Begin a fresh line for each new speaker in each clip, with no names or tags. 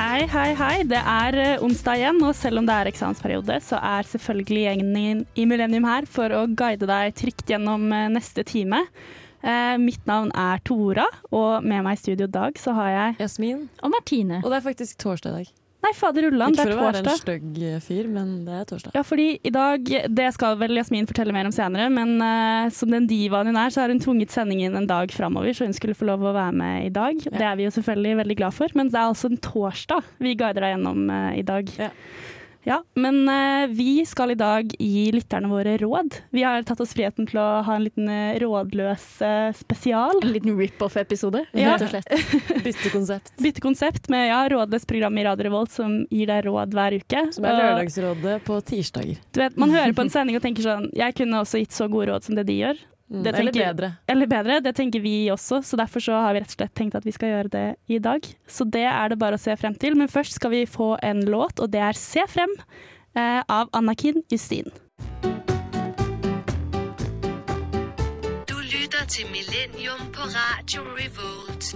Hei, hei, hei. Det er eh, onsdag igjen, og selv om det er eksamensperiode, så er selvfølgelig gjengen i- i Millennium her for å guide deg trygt gjennom eh, neste time. Eh, mitt navn er Tora, og med meg i studio i dag så har jeg
Jasmin.
Og Martine.
Og det er faktisk torsdag i dag.
Nei, fader ulland, det
Ikke for
er
å være en
torsdag.
stygg fyr, men det er torsdag.
Ja, fordi i dag, det skal vel Jasmin fortelle mer om senere, men eh, som den divaen hun er, så har hun tvunget sendingen en dag framover, så hun skulle få lov å være med i dag. Det er vi jo selvfølgelig veldig glad for, men det er altså en torsdag vi guider deg gjennom eh, i dag.
Ja.
Ja, men eh, vi skal i dag gi lytterne våre råd. Vi har tatt oss friheten til å ha en liten eh, rådløs eh, spesial.
En liten rip-off-episode,
Ja.
rett og slett.
Bytte konsept.
Bytte konsept med ja, rådløst program i Radio Revolt som gir deg råd hver uke.
Som er
Og-
Lørdagsrådet på tirsdager.
Du vet, Man hører på en sending og tenker sånn Jeg kunne også gitt så gode råd som det de gjør.
Mm,
Det
eller
tenker-
bedre.
Eller bedre, det tenker vi også, så derfor så har vi rett og slett tenkt at vi skal gjøre det i dag. Så det er det bare å se frem til. Men først skal vi få en låt, og det er Se frem eh, av Anakin Justin.
Du lytter til Millennium på Radio Revolt.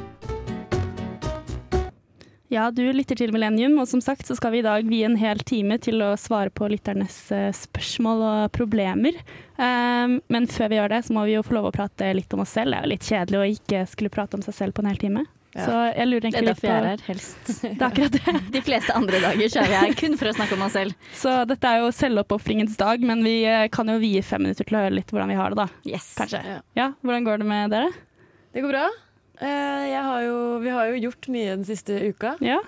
Ja, du lytter til Millennium, og som sagt så skal vi i dag vie en hel time til å svare på lytternes eh, spørsmål og problemer. Um, men før vi gjør det, så må vi jo få lov å prate litt om oss selv. Det er jo litt kjedelig å ikke skulle prate om seg selv på en hel time.
Ja.
Så jeg lurer
Det er
egentlig litt
derfor jeg er
på
her, helst.
Det er akkurat det.
De fleste andre dager så er jeg her kun for å snakke om meg selv.
Så dette er jo selvoppofringens dag, men vi eh, kan jo vie fem minutter til å høre litt hvordan vi har det, da.
Yes.
Kanskje.
Ja.
Ja, hvordan går det med dere?
Det går bra. Eh, jeg har jo, vi har jo gjort mye den siste uka.
Ja.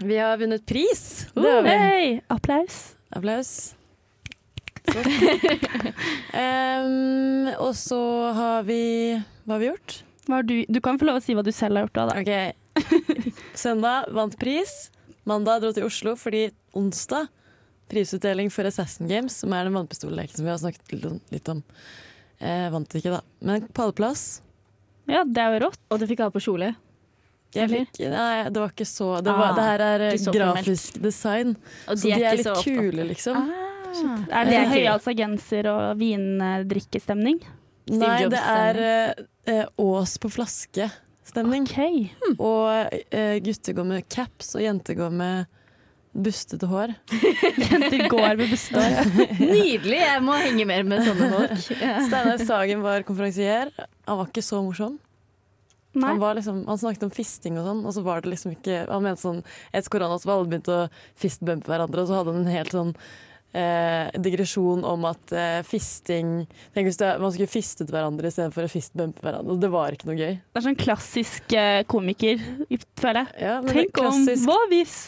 Vi har vunnet pris. Det har vi.
Hei! Applaus.
Applaus. Em, og så har vi Hva har vi gjort?
Hva har du, du kan få lov å si hva du selv har gjort òg, da.
Ok. Søndag vant pris. Mandag dro til Oslo fordi onsdag prisutdeling for Assassin Games, som er den vannpistolleken som vi har snakket litt om- litt om. Eh, vant ikke, da. Men pallplass.
Ja, det er jo rått.
Og du fikk av på kjole.
Jeg
Eller?
fikk, nei, det var ikke så Det, var,
Ah,
det her er eh,
ikke så
grafisk design,
Og
så de er,
ikke så
litt
opptatt. Ah,
kule, liksom.
Det er
Det er
litt
gøy.
høyhalsa genser og vindrikkestemning.
Steve
nei, det
Jobs-stemning.
er eh, eh, Ås på
Ah,
flaske-stemning.
OK.
hm.
Og eh, gutter går med caps, og jenter går med bustete hår.
Jenter går med består.
Nydelig! Jeg må henge mer med sånne folk.
Steinar Sagen var konferansier. Han var ikke så morsom.
Nei.
Han, var liksom, han snakket om fisting og sånn, og så var det liksom ikke Han mente sånn Etter korona så var alle begynt å fistbumpe hverandre, og så hadde han en helt sånn eh, digresjon om at eh, fisting Tenk hvis det, man skulle fistet hverandre istedenfor å fistbumpe hverandre. Det var ikke noe gøy.
Det er sånn klassisk eh, komiker, føler jeg.
Ja, men
Tenk
det er
om
klassisk.
Hva hvis?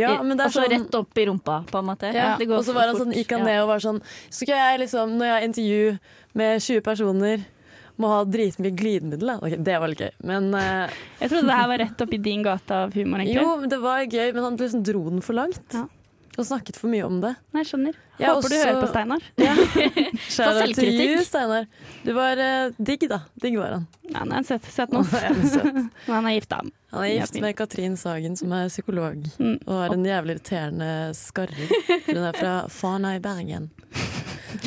ja, men det
og
er
så
sånn,
altså, rett opp i rumpa, på en måte.
Ja,
Det går
og så
for
var han
fort.
sånn, gikk han
Ja.
ned og var sånn Så skal jeg liksom, når jeg har intervju med 20 personer, må ha dritmye glidemiddel. Da. Ok, det var litt gøy. Men eh,
Jeg trodde det her var rett oppi din gate av humor, egentlig.
Jo, men det var gøy, men han liksom dro den for langt.
Ja.
Og snakket for mye om det.
Nei, jeg skjønner.
Jeg
Håper du
også-
hører på, Steinar.
Shout out til
selvkritikk.
you, Steinar. Du var eh, digg, da. Digg var han.
Ja, han er en søt, søt
Han
nå.
er søt.
Men han er gift, da.
Han er gift
Jasmin.
med Katrin Sagen, som er psykolog.
Mm.
Og har en jævlig irriterende skarre. For Hun er fra Fana i Bergen.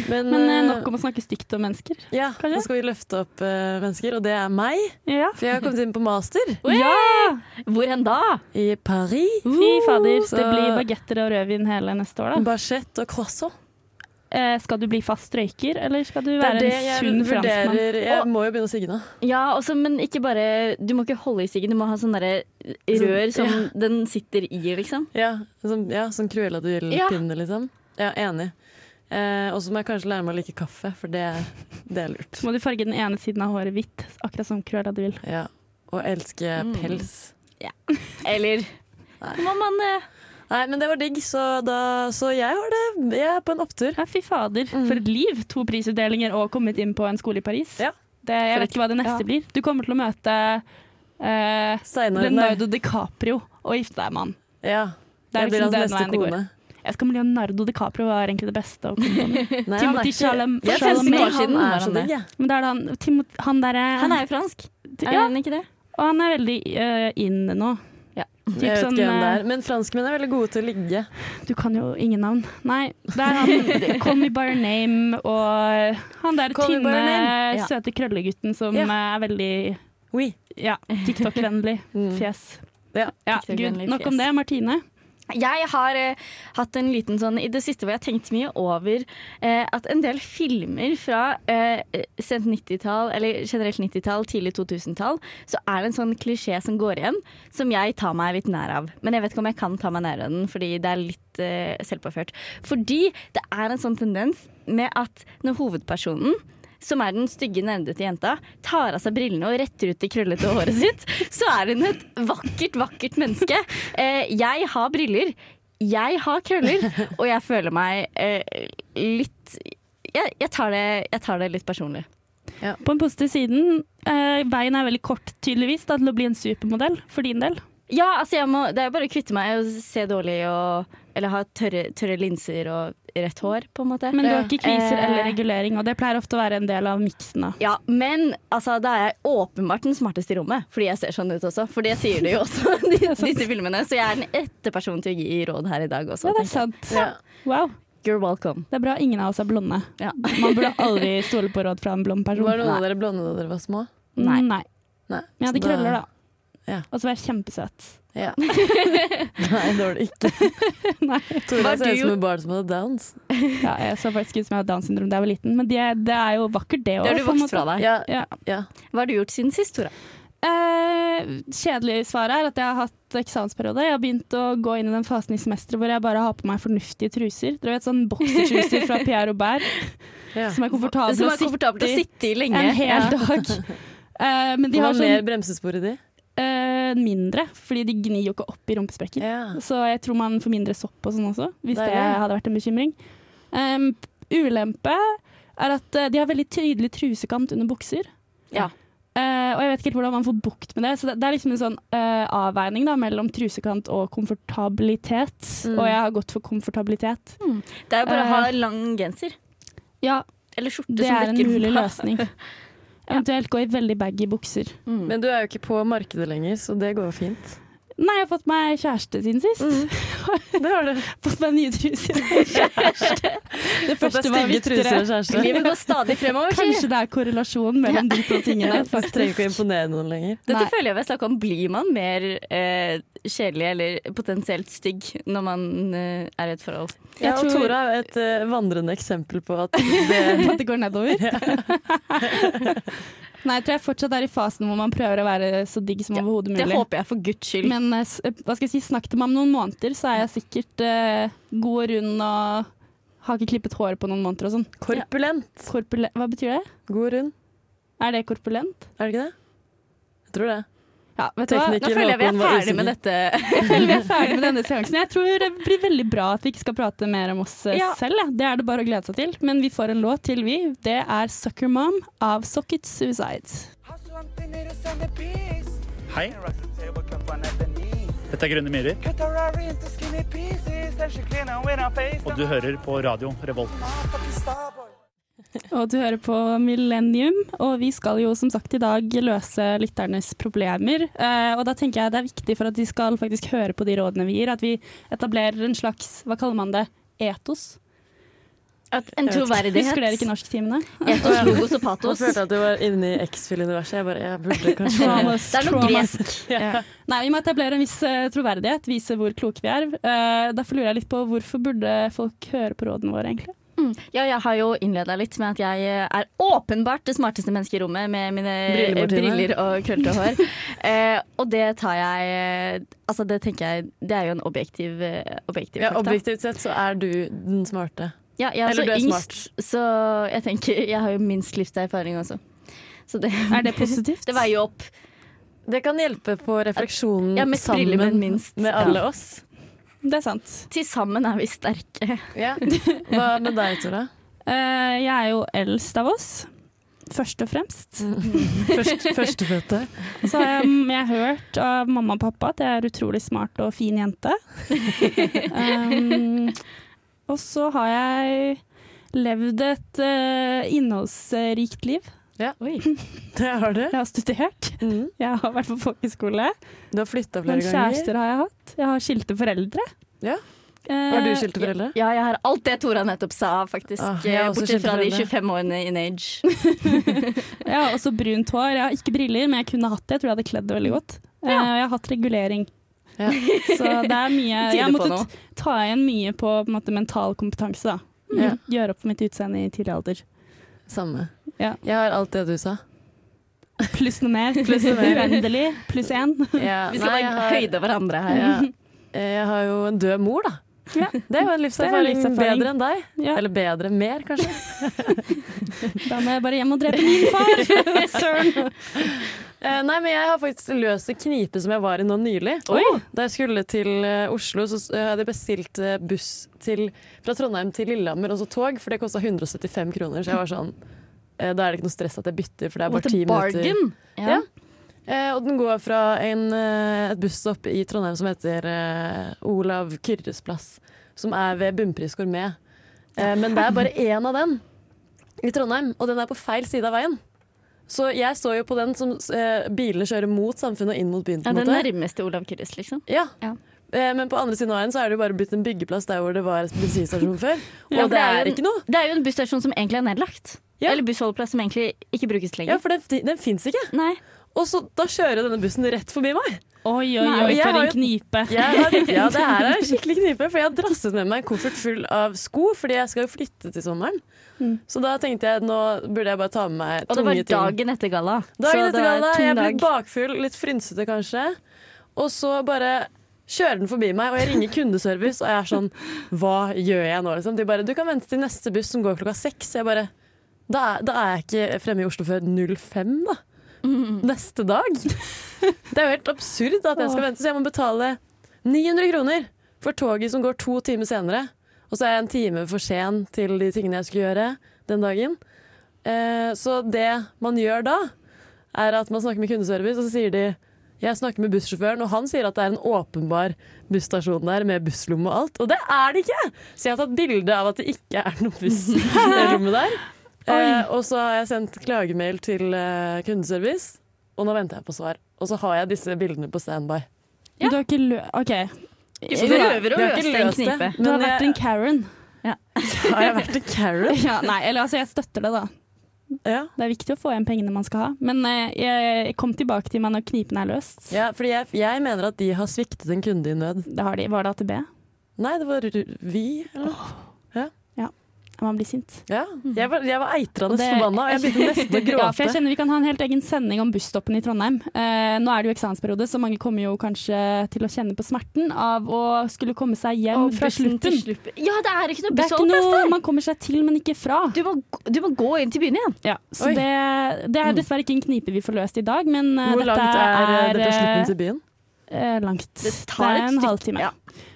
Men,
Men eh,
eh,
nok om å snakke stygt om mennesker.
Ja,
kanskje?
nå skal vi løfte opp eh, mennesker, og det er meg.
Ja!
For jeg har kommet inn på master
ja!
Hvor hen da?
i Paris.
Fy fader,
Uh, så-
det blir bagetter og rødvin hele neste år, da.
Bachette og croissant.
Eh, skal du bli fast røyker, eller skal du
Det er
være
det
en
jeg
sunn franskmann?
vurderer. Jeg må jo begynne å sigge nå.
Ja, også, men ikke bare Du må ikke holde i stigen, du må ha sånne derre
Sånn-
rør som den sitter i, liksom.
Ja, sånn, ja, sånn Cruella du
Ja.
pinne liksom. Ja, enig. Eh, og så må jeg kanskje lære meg å like kaffe, for det, det er lurt.
Så må du farge den ene siden av håret hvitt, akkurat som Cruella du vil.
Ja. Og elske
Mm.
pels.
Eller må man eh,
Nei, men det var digg, så, da, så jeg har det. Jeg er på en opptur.
Ja, fy fader,
Mm.
for et liv! To prisutdelinger og kommet inn på en skole i Paris.
Ja.
Det, jeg vet ikke hva det neste blir. Du kommer til å møte eh,
Steinar, nei.
Leonardo DiCaprio og gifte deg med han.
Ja.
Det er
jeg blir
liksom
hans
den
neste
veien det går.
kone.
Jeg skal med Leonardo DiCaprio var egentlig det beste. å komme på nå.
Nei, han er
Timothy
ikke-
Chalam-
Jeg synes
Chalamet.
ikke-
Han er så digg, jeg.
Men da er sånn, det han Timot- Han eh, derre
Han er jo fransk, er
ja,
han ikke det?
og han er veldig eh, in nå.
Ja.
Typ
Jeg vet
sånn,
ikke hvem det
eh,
er. Men franskmenn er veldig gode til å ligge.
Du kan jo ingen navn. Nei, det er han Call Me By Your Name og han der
Call Me By Your
tynne,
Name. Ja.
søte krøllegutten som
Ja.
eh, er veldig
Oui.
ja, TikTok-vennlig
Mm.
fjes.
Ja.
Ja, gud,
TikTok-vennlig
nok
fjes.
om det. Martine.
Jeg har eh, hatt en liten sånn i det siste hvor jeg har tenkt mye over eh, at en del filmer fra eh, sent 90-tall, eller generelt 90-tall, tidlig 2000-tall, så er det en sånn klisjé som går igjen, som jeg tar meg litt nær av. Men jeg vet ikke om jeg kan ta meg nær av den, fordi det er litt eh, selvpåført. Fordi det er en sånn tendens med at når hovedpersonen som er den stygge, nerdete jenta, tar av seg brillene og retter ut det krøllete håret sitt, så er hun et vakkert, vakkert menneske. Eh, jeg har briller, jeg har krøller, og jeg føler meg eh, litt jeg, jeg, tar det, jeg tar det litt personlig.
På den positive siden, eh, veien er veldig kort tydeligvis da, til å bli en supermodell, for din del.
Ja, altså jeg må, Det er jo bare å kvitte meg og se dårlig og Eller ha tørre, tørre linser og rett hår, på en måte.
Men du har ikke kviser
Eh.
eller regulering, og det pleier ofte å være en del av miksen. da.
Ja, men altså, da er jeg åpenbart den smarteste i rommet, fordi jeg ser sånn ut også. For det sier det jo også, de, disse filmene. Så jeg er den rette personen til å gi råd her i dag også.
Ja, det er
tenker jeg.
sant.
Ja.
Wow.
You're welcome.
Det er bra ingen av oss er blonde.
Ja.
Man burde aldri stole på råd fra en blond person.
Var noen av dere blonde da dere var små?
Nei.
Nei.
Nei.
Men jeg hadde
Så da-
krøller, da.
Ja.
Og så var jeg kjempesøt.
Ja. Nei, det var det ikke.
Nei.
Tora
Var
ser ut
du-
som et barn som hadde downs.
Ja, jeg så faktisk ut som jeg hadde Downs syndrom da jeg var liten, men det, det er jo vakkert, det òg.
Det har du vokst fra deg.
Ja,
Ja.
ja.
Hva har du gjort siden sist, Tora?
Eh, kjedelig svar er at jeg har hatt eksamensperiode. Jeg har begynt å gå inn i den fasen i semesteret hvor jeg bare har på meg fornuftige truser. Dere vet sånn boksertruser fra Pierre Robert
ja.
som er komfortable,
Som er komfortabelt å
i
sitte i lenge.
en hel
Ja.
dag. Eh, men de
Hva
har
var
sånn
mer bremsespor i de?
eh, mindre, fordi de gnir jo ikke opp i rumpesprekker.
Ja.
Så jeg tror man får mindre sopp og sånn også, hvis
Det
det,
er det.
hadde vært en bekymring. Um, ulempe er at eh, de har veldig tydelig trusekant under bukser.
Ja.
Eh, og jeg vet ikke helt hvordan man får bukt med det. Så det, det er liksom en sånn eh, avveining da, mellom trusekant og komfortabilitet.
Mm.
Og jeg har gått for komfortabilitet.
Det er jo bare å ha lang genser.
Ja,
Eller skjorte
det
som
er en
dekker
mulig
rumpa.
løsning. Eventuelt gå i veldig baggy bukser.
Mm.
Men du er jo ikke på markedet lenger, så det går jo fint.
Nei, jeg har fått meg kjæreste siden sist.
Mm. Det har du.
Fått meg nye truser. Kjæreste. Det
Fått deg
første var
stygge truser
viktigere.
og kjæreste.
Livet går stadig fremover. sier jeg.
Kanskje det er korrelasjon mellom de to tingene.
Du trenger ikke å imponere noen lenger.
Dette
Nei.
føler jeg vi har snakket om. Blir man mer eh, kjedelig eller potensielt stygg når man eh, er i et forhold?
Jeg
Ja, og
tror-
Tora er jo et eh, vandrende eksempel på at det
At det går nedover. Nei, jeg tror jeg fortsatt er i fasen hvor man prøver å være så digg som
Ja,
overhodet
Det
mulig.
håper jeg for guds skyld.
Men eh, s- eh, hva skal jeg si, snakk til meg om noen måneder, så er jeg sikkert eh, god og rund og har ikke klippet håret på noen måneder og sånn.
Korpulent.
Korpule- hva betyr det?
God rund.
Er det korpulent?
Er det ikke det? Jeg tror det.
Ja, vet du hva?
Tekniker
Nå føler jeg vi
Håkon
er
var
ferdig med
usikker.
dette.
Jeg føler vi er ferdig med denne seansen. Jeg tror det blir veldig bra at vi ikke skal prate mer om oss eh,
Ja.
selv. jeg. Det er det bare å glede seg til. Men vi får en låt til, vi. Det er 'Sucker Mom' av Socket Suicides.
Hei, dette er Grønne Myrer, og du hører på Radio Revolt.
Og du hører på Millennium, og vi skal jo som sagt i dag løse lytternes problemer. Eh, og da tenker jeg det er viktig for at de skal faktisk høre på de rådene vi gir, at vi etablerer en slags, hva kaller man det, etos.
At en
Jeg vet ikke.
troverdighet.
Husker dere ikke norsktimene?
Etos, logos og
Jeg
patos.
følte at du var inne i X-Fill-universet. Jeg bare, jeg burde kanskje
Traumas,
Det er noe
traumas.
gresk.
Ja. Nei, vi må etablere en viss eh, troverdighet, vise hvor kloke vi er. Eh, derfor lurer jeg litt på hvorfor burde folk høre på rådene våre, egentlig?
Ja, jeg har jo innleda litt med at jeg eh, er åpenbart det smarteste mennesket i rommet med mine
Briller,
briller,
Martine.
og krøllete hår. eh, og det tar jeg Altså, det tenker jeg Det er jo en objektiv, eh, objektiv
Ja,
fakta.
objektivt sett så er du den smarte.
Ja, jeg er
Eller
så
du er
yngst, så jeg tenker Jeg har jo minst livserfaring også. Så det,
Er det positivt?
det veier jo opp.
Det kan hjelpe på refleksjonen
Ja, mest briller, men
sammen
minst.
med alle oss.
Det er sant.
Til sammen er vi sterke.
Hva med deg, Tora?
Eh, jeg er jo eldst av oss. først og fremst.
Først, førstefødte.
Så har jeg, mm, jeg har hørt av mamma og pappa at jeg er utrolig smart og fin jente. Um, og så har jeg levd et eh, innholdsrikt liv.
Det har du.
Jeg har studert,
Mm.
jeg har vært på folkehøyskole.
Du har flytta
Men
flere ganger.
kjærester har jeg hatt. Jeg har skilte foreldre.
Ja.
Eh,
Har du skilte foreldre?
Ja, jeg har alt det Tora nettopp sa, faktisk.
Ah, jeg er
eh,
også
Bortsett fra de
kjempefornøyd med.
25 årene in age.
Jeg har også brunt hår. Jeg har ikke briller, men jeg kunne hatt det. Jeg tror jeg hadde kledd det veldig godt. Eh,
Ja.
Jeg har hatt regulering.
Ja.
Så det er mye
Tyder
Jeg har
på noe.
måttet ta igjen mye på, på en måte, mental kompetanse. Da.
Ja.
Gjøre opp for mitt utseende i tidlig alder.
Samme.
Ja.
Jeg har alt det du sa.
Pluss noe mer.
Pluss noe mer.
Uendelig. Pluss én.
Ja,
Vi skal
nei, jeg
være
har-
høyde hverandre her.
Ja. Eh, Jeg har jo en død mor, da.
Ja.
Det er jo en livserfaring,
Det er en livserfaring.
bedre enn deg.
Ja.
Eller bedre, mer kanskje.
Da må jeg bare hjem og drepe min far! Søren.
Eh, nei, men jeg har faktisk løst en knipe som jeg var i nå nylig. Da jeg skulle til eh, Oslo, så s- eh, hadde jeg bestilt eh, buss til, fra Trondheim til Lillehammer, og så tog, for det kosta 175 kroner. Så jeg var sånn eh, Da er det ikke noe stress at jeg bytter, for det er bare
What a
ti minutter.
bargain!
Ja. Eh, og den går fra en, eh, et busstopp i Trondheim som heter eh, Olav Kyrres plass, som er ved Bunnpris Gourmet. Eh, men det er bare én av den i Trondheim, og den er på feil side av veien. Så jeg står jo på den som eh, bilene kjører mot samfunnet og inn mot byen. på
Ja,
en
den
måte.
nærmeste Olav Kyrres, liksom.
Ja.
Ja.
Eh, Men på andre siden av veien så er det jo bare blitt en byggeplass der hvor det var bensinstasjon før. Og
Ja,
det
for det er
er
jo-
ikke noe.
Det er jo en busstasjon som egentlig er nedlagt.
Ja.
Eller bussholdeplass som egentlig ikke brukes
Ja,
lenger.
for den, den fins ikke.
Nei.
Og så da kjører denne bussen rett forbi meg.
Oi, oi,
Nei,
oi,
jeg
for
har
en
jo-
knipe.
Jeg har, ja, det her er en skikkelig knipe, for jeg har drasset med meg en koffert full av sko, fordi jeg skal jo flytte til sommeren. Så da tenkte jeg nå burde jeg bare ta med meg
Mm. Og det
tunge
var
ting.
dagen etter galla.
Dagen
så
etter
det var
galla,
tung
jeg ble
dag.
litt bakfull, litt frynsete kanskje. Og så bare kjører den forbi meg, og jeg ringer kundeservice, og jeg er sånn Hva gjør jeg nå, liksom? De bare Du kan vente til neste buss som går klokka seks. Jeg bare da er, da er jeg ikke fremme i Oslo før 05, da.
Mm.
Neste dag. Det er jo helt absurd at jeg skal vente, så jeg må betale 900 kroner for toget som går to timer senere. Og så er jeg en time for sen til de tingene jeg skulle gjøre den dagen. Eh, så det man gjør da, er at man snakker med kundeservice, og så sier de jeg snakker med bussjåføren, og han sier at det er en åpenbar busstasjon der med busslomme og alt. Og det er det ikke! Så jeg har tatt bilde av at det ikke er noe buss i det rommet der. Eh, og så har jeg sendt klagemail til eh, kundeservice, og nå venter jeg på svar. Og så har jeg disse bildene på standby.
Du har ikke lø... OK.
Vi prøver å
Vi har
løse
ikke
en
løst det,
knipe.
Du har
men eh,
vært en
jeg,
Karen.
har jeg vært en Karen?
Ja, nei, eller altså, jeg støtter det, da.
Ja.
Det er viktig å få igjen pengene man skal ha. Men eh, jeg kom tilbake til meg når knipen er løst.
ja, fordi jeg, jeg mener at de har sviktet en kunde i nød.
Det har de. Var det AtB?
Nei, det var Vy, eller noe.
Man blir sint.
Ja, jeg var, jeg var eitrende
Det-
forbanna, og jeg begynte nesten å
Ja, for jeg
gråte.
kjenner Vi kan ha en helt egen sending om busstoppen i Trondheim. Eh, nå er det jo eksamensperiode, så mange kommer jo kanskje til å kjenne på smerten av å skulle komme seg hjem
Og
fra
bussen til
slutten.
sluppen. Ja, det er ikke noe
Det er ikke
bussholdeplass
noe
der!
man kommer seg til, men ikke fra.
Du må, du må gå inn til byen igjen.
Ja, så
Oi. Mm.
det, det er dessverre ikke en knipe vi får løst i dag, men eh,
Hvor
dette
langt er, eh, dette slutten
eh,
til byen?
eh, langt. Det,
tar
er
et
en
stykke,
halvtime.
ja.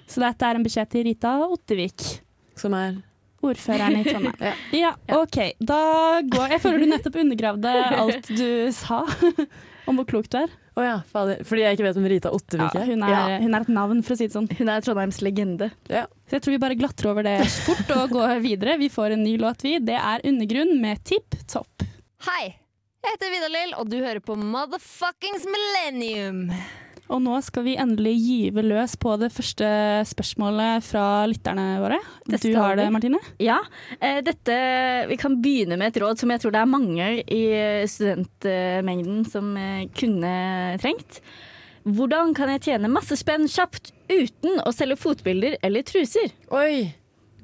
Så dette er en beskjed til Rita Ottevik.
Som er
Ordføreren i Trondheim.
Ja.
ja. OK. Da går Jeg føler du nettopp undergravde alt du sa om hvor klok du er.
Å ja, fader. Fordi jeg ikke vet om Rita Ottevik
Ja,
er.
hun, er
Ja.
hun er et navn, for å si det sånn.
Hun er Trondheims legende.
Så jeg tror vi bare glatter over det fort og går videre. Vi får en ny låt, vi. Det er 'Undergrunn' med Tipp Topp.
Hei, jeg heter Vidar-Lill, og du hører på Motherfuckings Millennium.
Og nå skal vi endelig gyve løs på det første spørsmålet fra lytterne våre.
Det
Du
skal
har det,
vi.
Martine.
Ja, eh, dette Vi kan begynne med et råd som jeg tror det er mange i eh, studentmengden som eh, kunne trengt. Hvordan kan jeg tjene masse spenn kjapt uten å selge fotbilder eller truser?
Oi!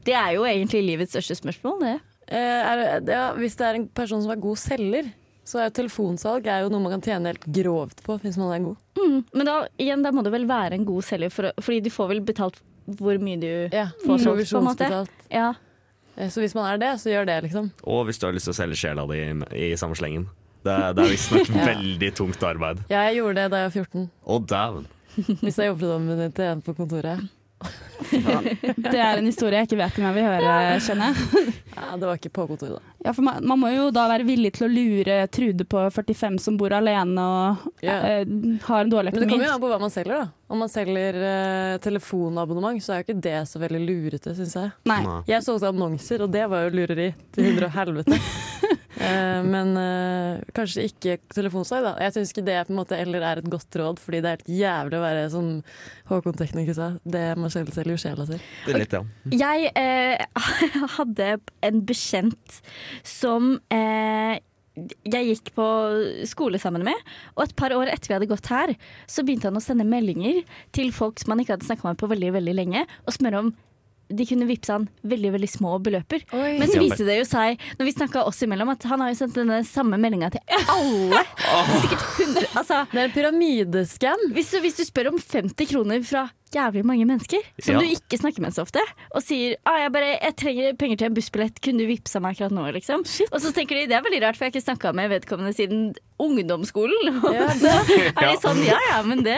Det er jo egentlig livets største spørsmål, det.
Eh, er, det- ja, hvis det er en person som er god selger, så er jo telefonsalg er jo noe man kan tjene helt grovt på hvis man er god.
Mm. Men da, igjen, da må du vel være en god selger, for, å- fordi du får vel betalt hvor mye du
Ja,
Mm.
Provisjonsbetalt.
Ja.
Eh, Så hvis man er det, så gjør det, liksom.
Og hvis du har lyst til å selge sjela di i samme slengen. Det er, det er visstnok
Ja.
veldig tungt arbeid.
Ja, jeg gjorde det da jeg var 14.
Å, dæven.
Hvis jeg jobbet om det til en på kontoret.
Det er en historie jeg ikke vet om jeg vil høre, kjenner jeg.
Ja, det var ikke på kontoret, da.
Ja, for man, man må jo da være villig til å lure Trude på 45 som bor alene og
Ja.
eh, har en dårlig
Men det
økonomi.
kommer jo an på hva man selger, da. Om man selger eh, telefonabonnement, så er jo ikke det så veldig lurete, syns jeg.
Nei.
Nei.
Jeg solgte annonser, og det var jo lureri til hundre og helvete. Eh, men eh, kanskje ikke telefonsalg, da. Jeg syns ikke det på en måte heller er et godt råd, fordi det er helt jævlig å være som Håkon Tekniker sa, det man selv selger jo sjela si.
Det er litt, ja.
Jeg eh, hadde en bekjent som eh, jeg gikk på skole sammen med. Og et par år etter vi hadde gått her, så begynte han å sende meldinger til folk som han ikke hadde snakka med på veldig veldig lenge, og spørre om de kunne vippse han veldig veldig små beløper. Men så viste det jo seg når vi snakka oss imellom at han har jo sendt denne samme meldinga til alle. Sikkert 100, altså,
Det er en pyramideskam!
hvis, du- hvis du spør om 50 kroner fra jævlig mange mennesker, som
Ja.
du ikke snakker med så ofte, og sier ah, jeg, bare, 'jeg trenger penger til en bussbillett, kunne du vippsa meg akkurat nå?' Liksom. Og så tenker de det er veldig rart, for jeg har ikke snakka med vedkommende siden ungdomsskolen. Og så er de sånn ja ja, men det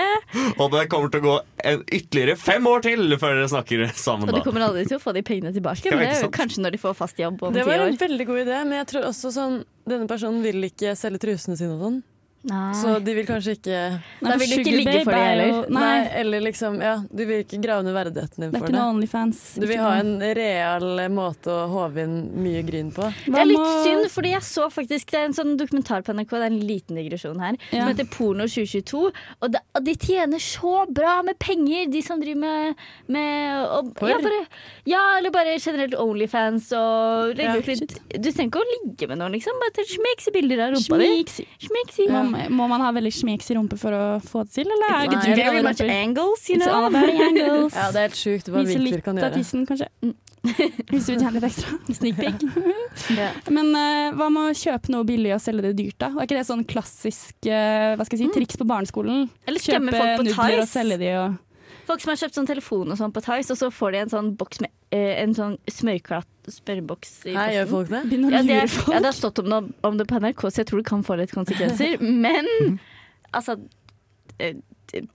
Og det kommer til å gå en ytterligere fem år til før dere snakker sammen.
Og du
da.
kommer aldri til å få de pengene tilbake.
Ja,
men det
ikke
er jo
sant?
kanskje når de får fast jobb om ti
Det var
år.
en veldig god idé, men jeg tror også sånn denne personen vil ikke selge trusene sine og sånn,
Nei.
så de vil kanskje ikke
Nei,
Da
for
vil du ikke
Sugar
ligge
Babe
for det
er jo-
heller.
Nei,
Nei, eller liksom Ja, du vil ikke grave ned verdigheten din
det er
for
ikke
det.
noe Onlyfans.
Du vil ha en real måte å håve inn mye gryn på.
Det er litt synd, fordi jeg så faktisk Det er en sånn dokumentar på NRK, det er en liten digresjon her,
Ja.
som heter Porno 2022. Og de, og de tjener så bra med penger, de som driver med, med og,
Porr?
ja, bare, ja, eller bare generelt Onlyfans og legge
Ja.
ut litt Du trenger ikke å ligge med noen, liksom. Bare smeks i bilder av rumpa di.
Smiks.
Smeks i.
Må, må man ha veldig smiks i rumpa for å få det til, eller er
Nei,
ikke du
Very much angles, you
It's all
know.
about angles.
Ja, det er helt sjukt hva
Vise
vinkler
litt
kan
av
gjøre. Mm.
tissen, kanskje. Hvis du vil tjene litt ekstra. Sneak peek.
Ja.
Men eh, hva med å kjøpe noe billig og selge det dyrt, da? Er ikke det sånn klassisk eh, hva skal jeg si,
Mm.
triks på barneskolen?
Eller skremme
Kjøpe
folk på
nudler og
Tice.
selge de og
Folk som har kjøpt sånn telefon og sånn på Tice, og så får de en sånn boks med eh, en sånn smørklatt smørboks i
Her gjør
posten.
folk det.
begynne å
Ja, det,
lure
ja,
folk.
det har stått om det, om det på NRK, så jeg tror det kan få litt konsekvenser. Men altså it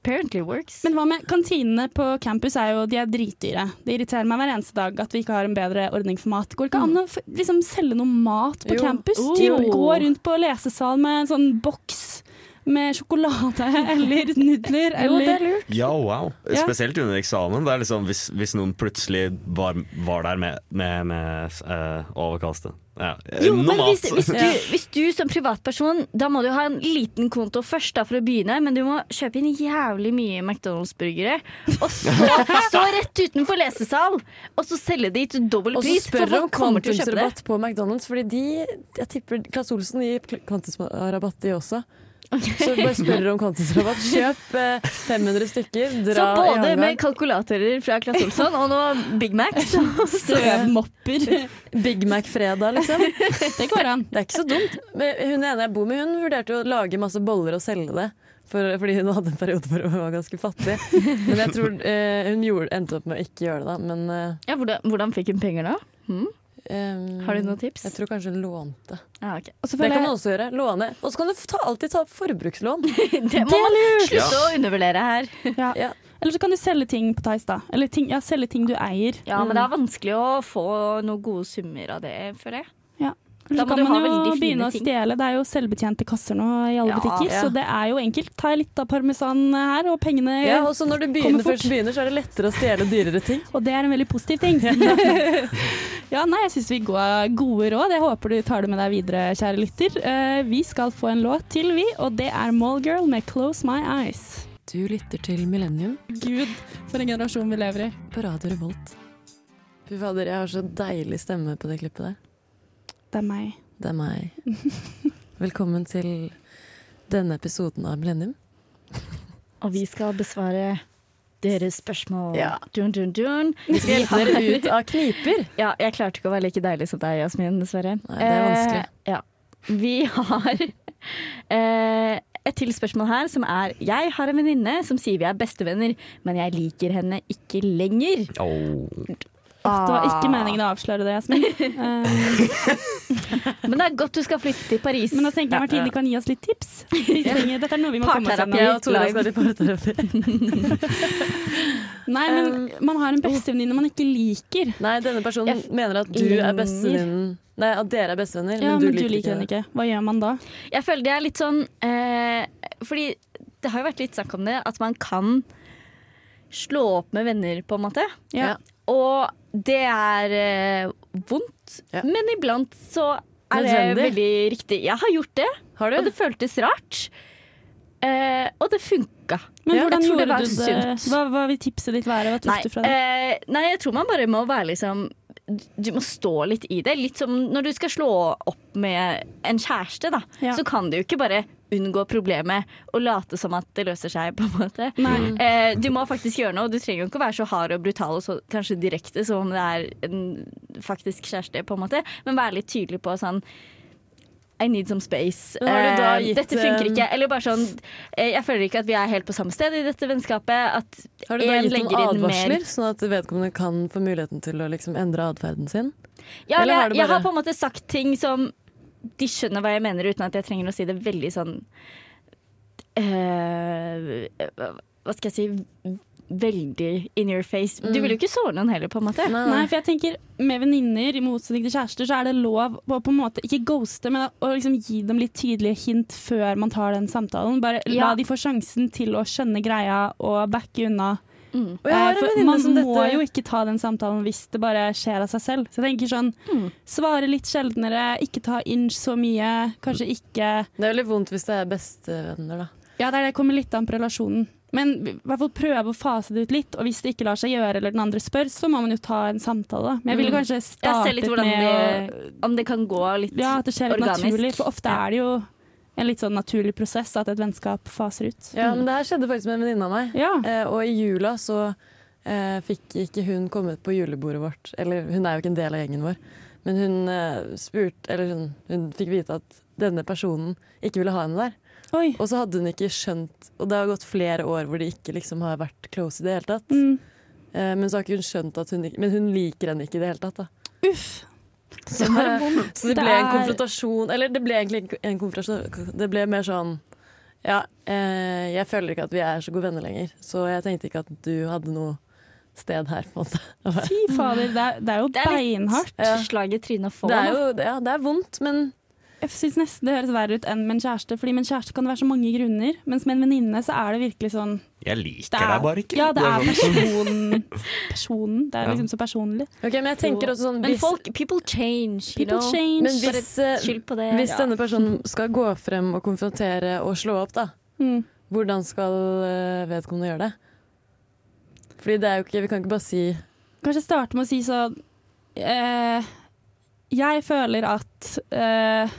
Apparently works.
Men hva med kantinene på campus er jo de er dritdyre. Det irriterer meg hver eneste dag at vi ikke har en bedre ordning for mat. Går det ikke an å f- liksom selge noe mat på
Jo.
campus?
Mm. Oh.
De går rundt på lesesal med en sånn boks med sjokolade eller nudler eller
lurt.
Ja, wow.
Ja.
Spesielt under eksamen. Det er liksom hvis, hvis noen plutselig var, var der med, med, med eh, overkastet. Ja.
jo, men
Normalt.
hvis, hvis, du, hvis du som privatperson Da må du ha en liten konto først da, for å begynne, men du må kjøpe inn jævlig mye McDonald's-burgere. Og så stå rett utenfor lesesal, og så selge de til
Og
dobbel
så
pris. For
spør om
folk kommer til å kjøpe det.
kvantumsrabatt på McDonald's, fordi de Jeg tipper Claes Olsen gir kl- kvantumsrabatt, de også. Så bare spør om kvantumsrabatt. Kjøp eh, 500 stykker,
Så
dra i
både med
hangarn.
kalkulatorer fra Claes Olsson og nå Big Mac. så-
støvmopper.
Big Mac-fredag, liksom.
Det går an.
Det er ikke så dumt. Men hun ene jeg bor med, hun vurderte å lage masse boller og selge det. For, fordi hun hadde en periode hvor hun var ganske fattig. Men jeg tror eh, hun gjorde, endte opp med å ikke gjøre det, da. Men eh,
Ja, hvordan, hvordan fikk hun penger da?
em,
Har du noen tips?
Jeg tror kanskje hun lånte.
Ja, ok.
Og så
Det
føler
kan
jeg-
man også gjøre. Låne. Og så kan du ta, alltid ta opp forbrukslån.
Det må man slutte å undervurdere her.
Ja.
Ja.
Eller så kan du selge ting på Tice, da. Eller ting, ja, selge ting du eier.
Ja, men det er vanskelig å få noen gode summer av det, føler jeg.
Eller
Da
så
må
kan
du ha
man jo
veldig fine
begynne å
ting.
stjele. Det er jo selvbetjente kasser nå i alle
Ja.
butikker,
Ja.
så det er jo enkelt. Ta litt av parmesan her, og pengene
Ja, og så når du begynner,
Kommer fort.
først begynner, så er det lettere å stjele dyrere ting.
Og det er en veldig positiv ting. ja, nei, jeg syns vi ga gode råd. Jeg håper du tar det med deg videre, kjære lytter. Eh, vi skal få en låt til, vi, og det er Mallgirl med 'Close My Eyes'.
Du lytter til Millennium
Gud, for en generasjon vi lever i.
på Radio Revolt. Fy fader, jeg har så deilig stemme på det klippet der.
Det er meg.
Det er meg. Velkommen til denne episoden av Millennium.
Og vi skal besvare deres spørsmål.
Ja.
Dun, dun, dun.
Dere ut av kniper!
Ja, jeg klarte ikke å være like deilig som deg, Jasmin, dessverre.
Nei, det er vanskelig.
Eh, ja. Vi har eh, et til spørsmål her, som er Jeg har en venninne som sier vi er bestevenner, men jeg liker henne ikke lenger.
Åh.
Det var ikke meningen å avsløre det, Jasmin. Eh,
Men det er godt du skal flytte til Paris.
men da tenker jeg Martine kan gi oss litt tips. Vi trenger, dette er noe vi må komme oss
Parterapi.
gjennom.
Jeg og Tora skal i parterapi.
Nei, men man har en
oh.
bestevenninne man ikke liker.
Nei, denne personen
Jeg f-
mener at du
ligner.
er bestevenninnen Nei, at dere er bestevenner,
Ja,
men du liker, ikke
henne
henne.
ikke. Hva gjør man da?
Jeg føler det er litt sånn eh, Fordi det har jo vært litt snakk om det, at man kan slå opp med venner, på en måte.
Ja.
Og det er eh, vondt,
Ja.
men iblant så er det
Nødvendig.
veldig riktig. Jeg har gjort det,
Har
og
du?
det føltes rart. Eh, og det funka.
Men
Ja,
hvordan
jeg tror det
gjorde
var
du det?
sunt.
Hva, hva vil tipset ditt være? Hva tok
Nei,
du fra det?
eh, nei, jeg tror man bare må være liksom Du må stå litt i det. Litt som når du skal slå opp med en kjæreste, da.
Ja.
Så kan du jo ikke bare unngå problemet og late som at det løser seg, på en måte.
Nei.
mm.
Eh, du må faktisk gjøre noe. Du trenger jo ikke å være så hard og brutal og så kanskje direkte som om det er en faktisk kjæreste, på en måte, men være litt tydelig på sånn I need some space.
Men har du da
Eh,
gitt,
dette funker
eh,
ikke. Eller bare sånn eh, Jeg føler ikke at vi er helt på samme sted i dette vennskapet. At
Har du da
en
gitt noen
legger inn mer-
advarsler, sånn at vedkommende kan få muligheten til å liksom endre atferden sin?
Ja,
Eller
jeg,
har du
jeg
bare-
har på en måte sagt ting som de skjønner hva jeg mener, uten at jeg trenger å si det veldig sånn eh, Hva skal jeg si Veldig in your face. Du
Mm.
vil jo ikke såre noen heller, på en måte.
Nei, for jeg tenker med venninner, i motsetning til kjærester, så er det lov å på en måte ikke ghoste, men å liksom gi dem litt tydelige hint før man tar den samtalen. Bare la
Ja.
de få sjansen til å skjønne greia og backe unna.
Mm.
Og jeg har
Eh,
en
for
venninne
man
som
må
dette
jo ikke ta den samtalen hvis det bare skjer av seg selv. Så jeg tenker sånn,
Mm.
svare litt sjeldnere, ikke ta inn så mye, kanskje ikke
Det er veldig vondt hvis det er bestevenner, da.
Ja, det, er det det kommer litt an på relasjonen. Men i hvert fall prøve å fase det ut litt, og hvis det ikke lar seg gjøre eller den andre spør, så må man jo ta en samtale. Men Mm. jeg ville kanskje
Jeg ser
startet
litt hvordan
med å
det, om det kan gå litt
Ja, at det skjer litt
Organisk.
naturlig. For ofte
Ja.
er det jo en litt sånn naturlig prosess at et vennskap faser ut.
Ja, men det her skjedde faktisk med en venninne av meg.
Ja.
Eh, og i jula så eh, fikk ikke hun kommet på julebordet vårt. Eller hun er jo ikke en del av gjengen vår. Men hun eh, spurte Eller hun, hun fikk vite at denne personen ikke ville ha henne der.
Oi.
Og så hadde hun ikke skjønt Og det har gått flere år hvor de ikke liksom har vært close i det hele tatt.
Mm.
Eh, men så har ikke hun skjønt at hun ikke Men hun liker henne ikke i det hele tatt, da.
Uff.
Så, så det ble en
Det er-
konfrontasjon Eller det ble egentlig ikke en konfrontasjon Det ble mer sånn Ja, eh, jeg føler ikke at vi er så gode venner lenger Så jeg tenkte ikke at du hadde noe sted her på en måte å være.
Fy fader, det er, det er jo
Det er litt-
beinhardt.
Ja.
slag i trynet å få.
Det er
da.
jo ja, det er vondt, men
Jeg syns nesten det høres verre ut enn med en kjæreste, fordi med en kjæreste kan det være så mange grunner, mens med en venninne så er det virkelig sånn
Jeg liker
det er,
deg bare ikke.
Ja, det er
sånn-
personen. personen. Det er
Ja.
liksom så personlig.
Ok, men jeg tenker også sånn
Men
hvis,
folk People change, you
People
know.
change.
men hvis, eh,
Skyld på det.
hvis denne personen skal gå frem og konfrontere og slå opp da
Mm.
Hvordan skal eh, vedkommende gjøre det? Fordi det er jo ikke, vi kan ikke bare si
Kanskje starte med å si sånn eh, Jeg føler at eh,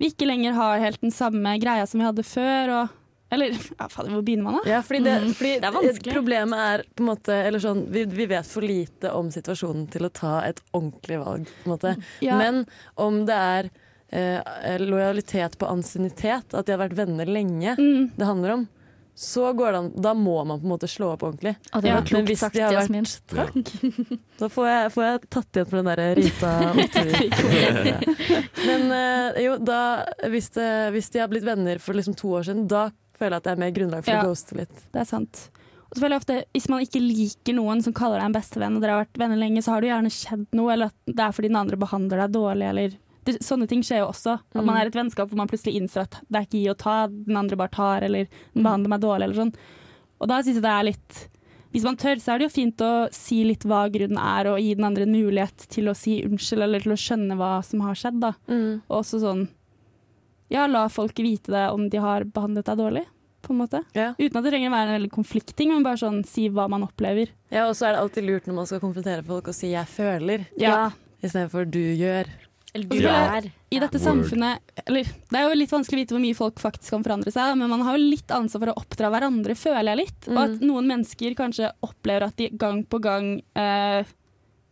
vi ikke lenger har helt den samme greia som vi hadde før, og Eller ja, fader, hvor begynner man, da?
Ja, fordi det, fordi
Mm. Det er vanskelig.
Problemet er på en måte eller sånn, vi, vi vet for lite om situasjonen til å ta et ordentlig valg. På en måte.
Ja.
Men om det er eh, lojalitet på ansiennitet, at de har vært venner lenge,
Mm.
det handler om, så går det an, da må man på en måte slå opp ordentlig.
Å, det
Ja,
var
men
klokt
hvis
sagt,
de har vært-
Jasmin.
Da får jeg, får jeg tatt igjen for den der Rita Ottervik. Men eh, jo, da, hvis, det, hvis de har blitt venner for liksom to år siden, da føler jeg at det er mer grunnlag for
Ja.
å ghoste litt.
Det er sant. Og så føler jeg ofte, Hvis man ikke liker noen som kaller deg en bestevenn, og dere har vært venner lenge, så har det jo gjerne skjedd noe, eller at det er fordi den andre behandler deg dårlig, eller det, Sånne ting skjer jo også. At man er i et vennskap hvor man plutselig innser at det er ikke gi og ta, den andre bare tar, eller den behandler meg dårlig, eller sånn. Og da syns jeg det er litt Hvis man tør, så er det jo fint å si litt hva grunnen er, og gi den andre en mulighet til å si unnskyld, eller til å skjønne hva som har skjedd, da.
Mm.
Og også sånn Ja, la folk vite det om de har behandlet deg dårlig, på en måte.
Ja.
Uten at det trenger å være en veldig konfliktting, men bare sånn si hva man opplever.
Ja, og så er det alltid lurt når man skal konfrontere folk og si 'jeg føler',
Ja.
istedenfor 'du gjør'.
Eller du
Ja.
er.
I dette
Word.
samfunnet eller, Det er jo litt vanskelig å vite hvor mye folk faktisk kan forandre seg, men man har jo litt ansvar for å oppdra hverandre, føler jeg litt. Og
Mm.
at noen mennesker kanskje opplever at de gang på gang eh,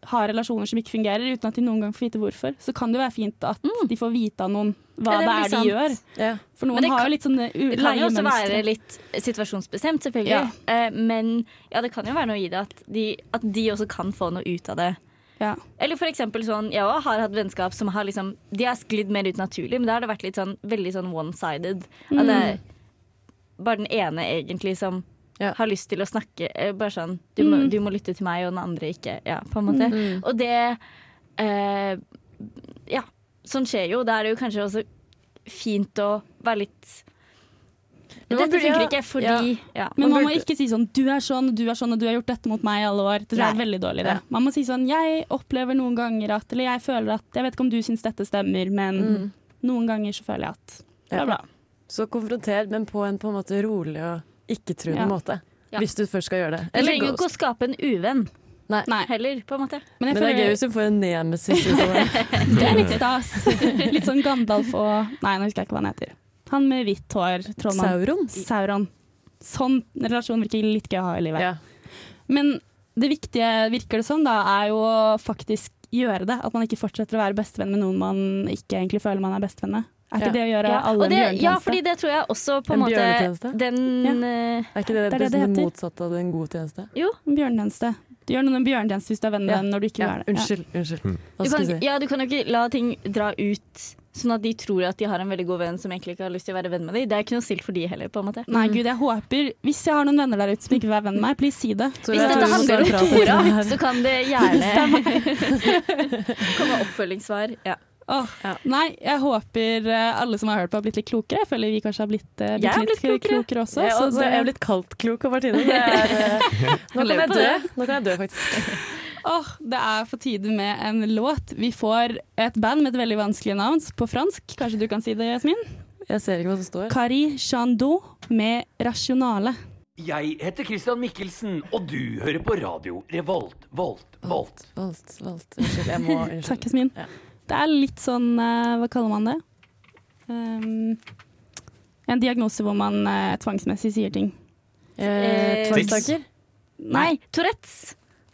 har relasjoner som ikke fungerer, uten at de noen gang får vite hvorfor. Så kan det jo være fint at de får vite av noen hva
Mm. Ja,
det,
det
er
blir
de
sant.
gjør.
Ja.
For
Men
noen
det
har jo
kan-
litt sånne u-
Det kan jo også være
leiemønstre.
litt situasjonsbestemt, selvfølgelig. Eh, men ja, det kan jo være noe i det at de, at de også kan få noe ut av det.
Ja.
Eller for eksempel sånn, jeg også har hatt vennskap som har liksom De har sklidd mer ut naturlig, men da har det vært litt sånn veldig sånn one-sided. At det er bare den ene egentlig som
Ja.
har lyst til å snakke. eh, Bare sånn du må, du må lytte til meg, og den andre ikke. Ja, på en måte. Og det eh, Ja, sånn skjer jo. Da er det jo kanskje også fint å være litt
Men
Dette
man burde
funker
jo-
ikke fordi ja.
Men man må
burde-
ikke si sånn 'du er sånn, du er sånn, og du har gjort dette mot meg i alle år'. Det tror jeg er
Nei.
veldig dårlig.
Ja.
det. Man må si sånn 'jeg opplever noen ganger at', eller 'jeg føler at', jeg vet ikke om du syns dette stemmer, men noen ganger så føler jeg at bla,
Mm. Ja.
bla.
Så konfronter, men på en, på en måte rolig og ikke-truende
Ja.
måte.
Ja.
Hvis du først skal gjøre det.
Du trenger jo ikke å skape en uvenn
Nei.
heller, på en måte.
Men jeg
Men det er gøy
føler
hvis du får en nemesis sånn ut av det.
det er litt stas. Litt sånn Gandalf og Nei, nå husker jeg ikke hva han heter. Han med hvitt hår, trollmann.
Sauron.
Sauron. Sånn relasjon virker litt gøy å ha i livet.
Ja.
Men det viktige, virker det som, da, er jo å faktisk gjøre det. At man ikke fortsetter å være bestevenn med noen man ikke egentlig føler man er bestevenn med. Er ikke
Ja.
det å gjøre
Ja,
alle
og
en
det, ja,
bjørnetjeneste?
fordi det tror jeg også på
En
en, måte
bjørnetjeneste?
Den
Ja.
eh,
Er
Det
ikke det det,
er det det heter.
motsatte av en god tjeneste?
En bjørnetjeneste. Du gjør noen en bjørnetjeneste hvis du er venn med
Ja.
dem når du ikke
Ja,
er det.
unnskyld. unnskyld. Hva
du
skal
kan,
jeg si?
ja, du kan jo ikke la ting dra ut sånn at de tror at de har en veldig god venn som egentlig ikke har lyst til å være venn med dem. Det er ikke noe snilt for de heller, på en måte.
Nei, gud, jeg håper Hvis jeg har noen venner der ute som ikke vil være venn med meg, please si det.
Så
Hvis
jeg tror vi
dette
må
handler om
ta en
Tora,
prat om det her.
så kan det gjerne komme oppfølgingssvar. Ja.
Åh,
Ja.
Nei, jeg håper eh, alle som har hørt på har blitt litt klokere. Jeg føler vi kanskje har blitt, eh,
Jeg
bitte
har
litt
blitt klokere.
klokere også.
Jeg,
så
også,
det-
jeg er blitt kaldtklok av Martine. Det er, eh, nå kan
lever
jeg
på
dø. Nå kan jeg dø, faktisk.
Åh, det er på tide med en låt. Vi får et band med et veldig vanskelig navn på fransk. Kanskje du kan si det, Jasmin?
Jeg ser ikke hva som står.
Kari Chandou med 'Rasjonale'.
Jeg heter Christian Mikkelsen, og du hører på radio Revolt, Volt, Volt.
Valgt, valgt. Unnskyld, jeg må
Takk,
unnskyld.
Jasmin.
Ja.
Det er litt sånn eh, Hva kaller man det? Um, en diagnose hvor man eh, tvangsmessig sier ting.
Eh, Tvangstanker?
Nei, Tourettes!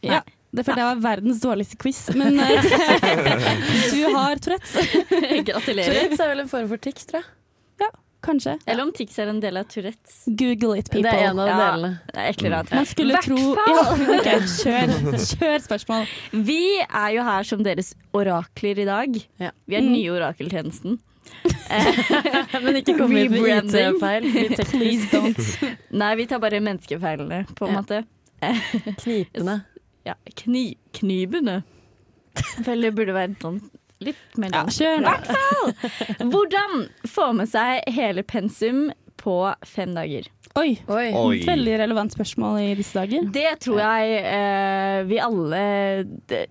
Ja, det følte jeg var verdens dårligste quiz, men eh, du har Tourettes.
Gratulerer.
Tourettes er vel en form for tics, tror jeg.
Kanskje.
Eller om Tix er en del av Tourettes.
Google it, people.
Det er en av
Ja.
delene.
Det er ekkelt rart.
Man skulle
Hvert
tro ja,
fall.
ok, kjør, kjør spørsmål.
Vi er jo her som deres orakler i dag.
Ja.
Vi er den nye orakeltjenesten.
Men ikke kom hit med
Rebranding.
IT-feil. Litt
Please don't.
Nei, vi tar bare menneskefeilene, på en
Ja.
måte.
knipende.
Ja, kni, knibene. Vel, det burde være sånn litt mer
Ja,
langt.
kjør nå.
Hvordan få med seg hele pensum på fem dager?
Oi.
Oi.
Oi.
Veldig relevant spørsmål i disse dager.
Det tror jeg eh, vi alle eh,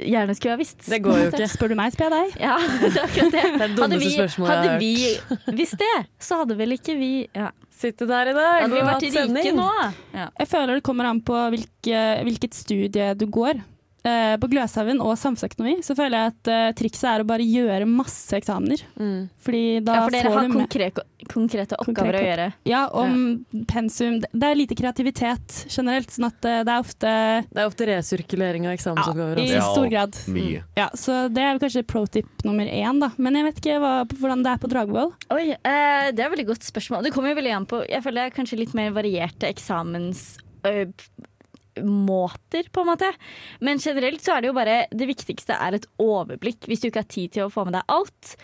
gjerne skulle ha visst.
Det går jo ikke.
Spør du meg, spør jeg deg.
Ja, det er akkurat det.
Det er det
Hadde
dummeste
vi,
spørsmålet
hadde vi
jeg har hørt.
visst det, så hadde vel ikke vi ja.
Sitter der i dag
Hadde vi
og
vært
hatt sending.
rike nå? Ja.
Jeg føler det kommer an på hvilke, hvilket studie du går. Eh, på Gløshaugen og samfunnsøkonomi så føler jeg at eh, trikset er å bare gjøre masse eksamener.
Mm.
Fordi da
ja, for dere
får
har
du med
konkrete, konkrete oppgaver
Konkrete
å gjøre.
Ja, om pensum Det det er lite kreativitet generelt, sånn at eh, det er ofte
Det er ofte resirkulering av altså. eksamensoppgaver.
Mm.
i
også.
Ja.
stor grad.
Mye.
Ja, så det er jo kanskje pro tip nummer én, da. Men jeg vet ikke hva, hvordan det er på Dragvoll.
Oi, eh, det er veldig godt spørsmål. Det kommer jo veldig an på Jeg føler det er kanskje litt mer varierte eksamensmåter, på en måte. Men generelt så er det jo bare Det viktigste er et overblikk. Hvis du ikke har tid til å få med deg alt,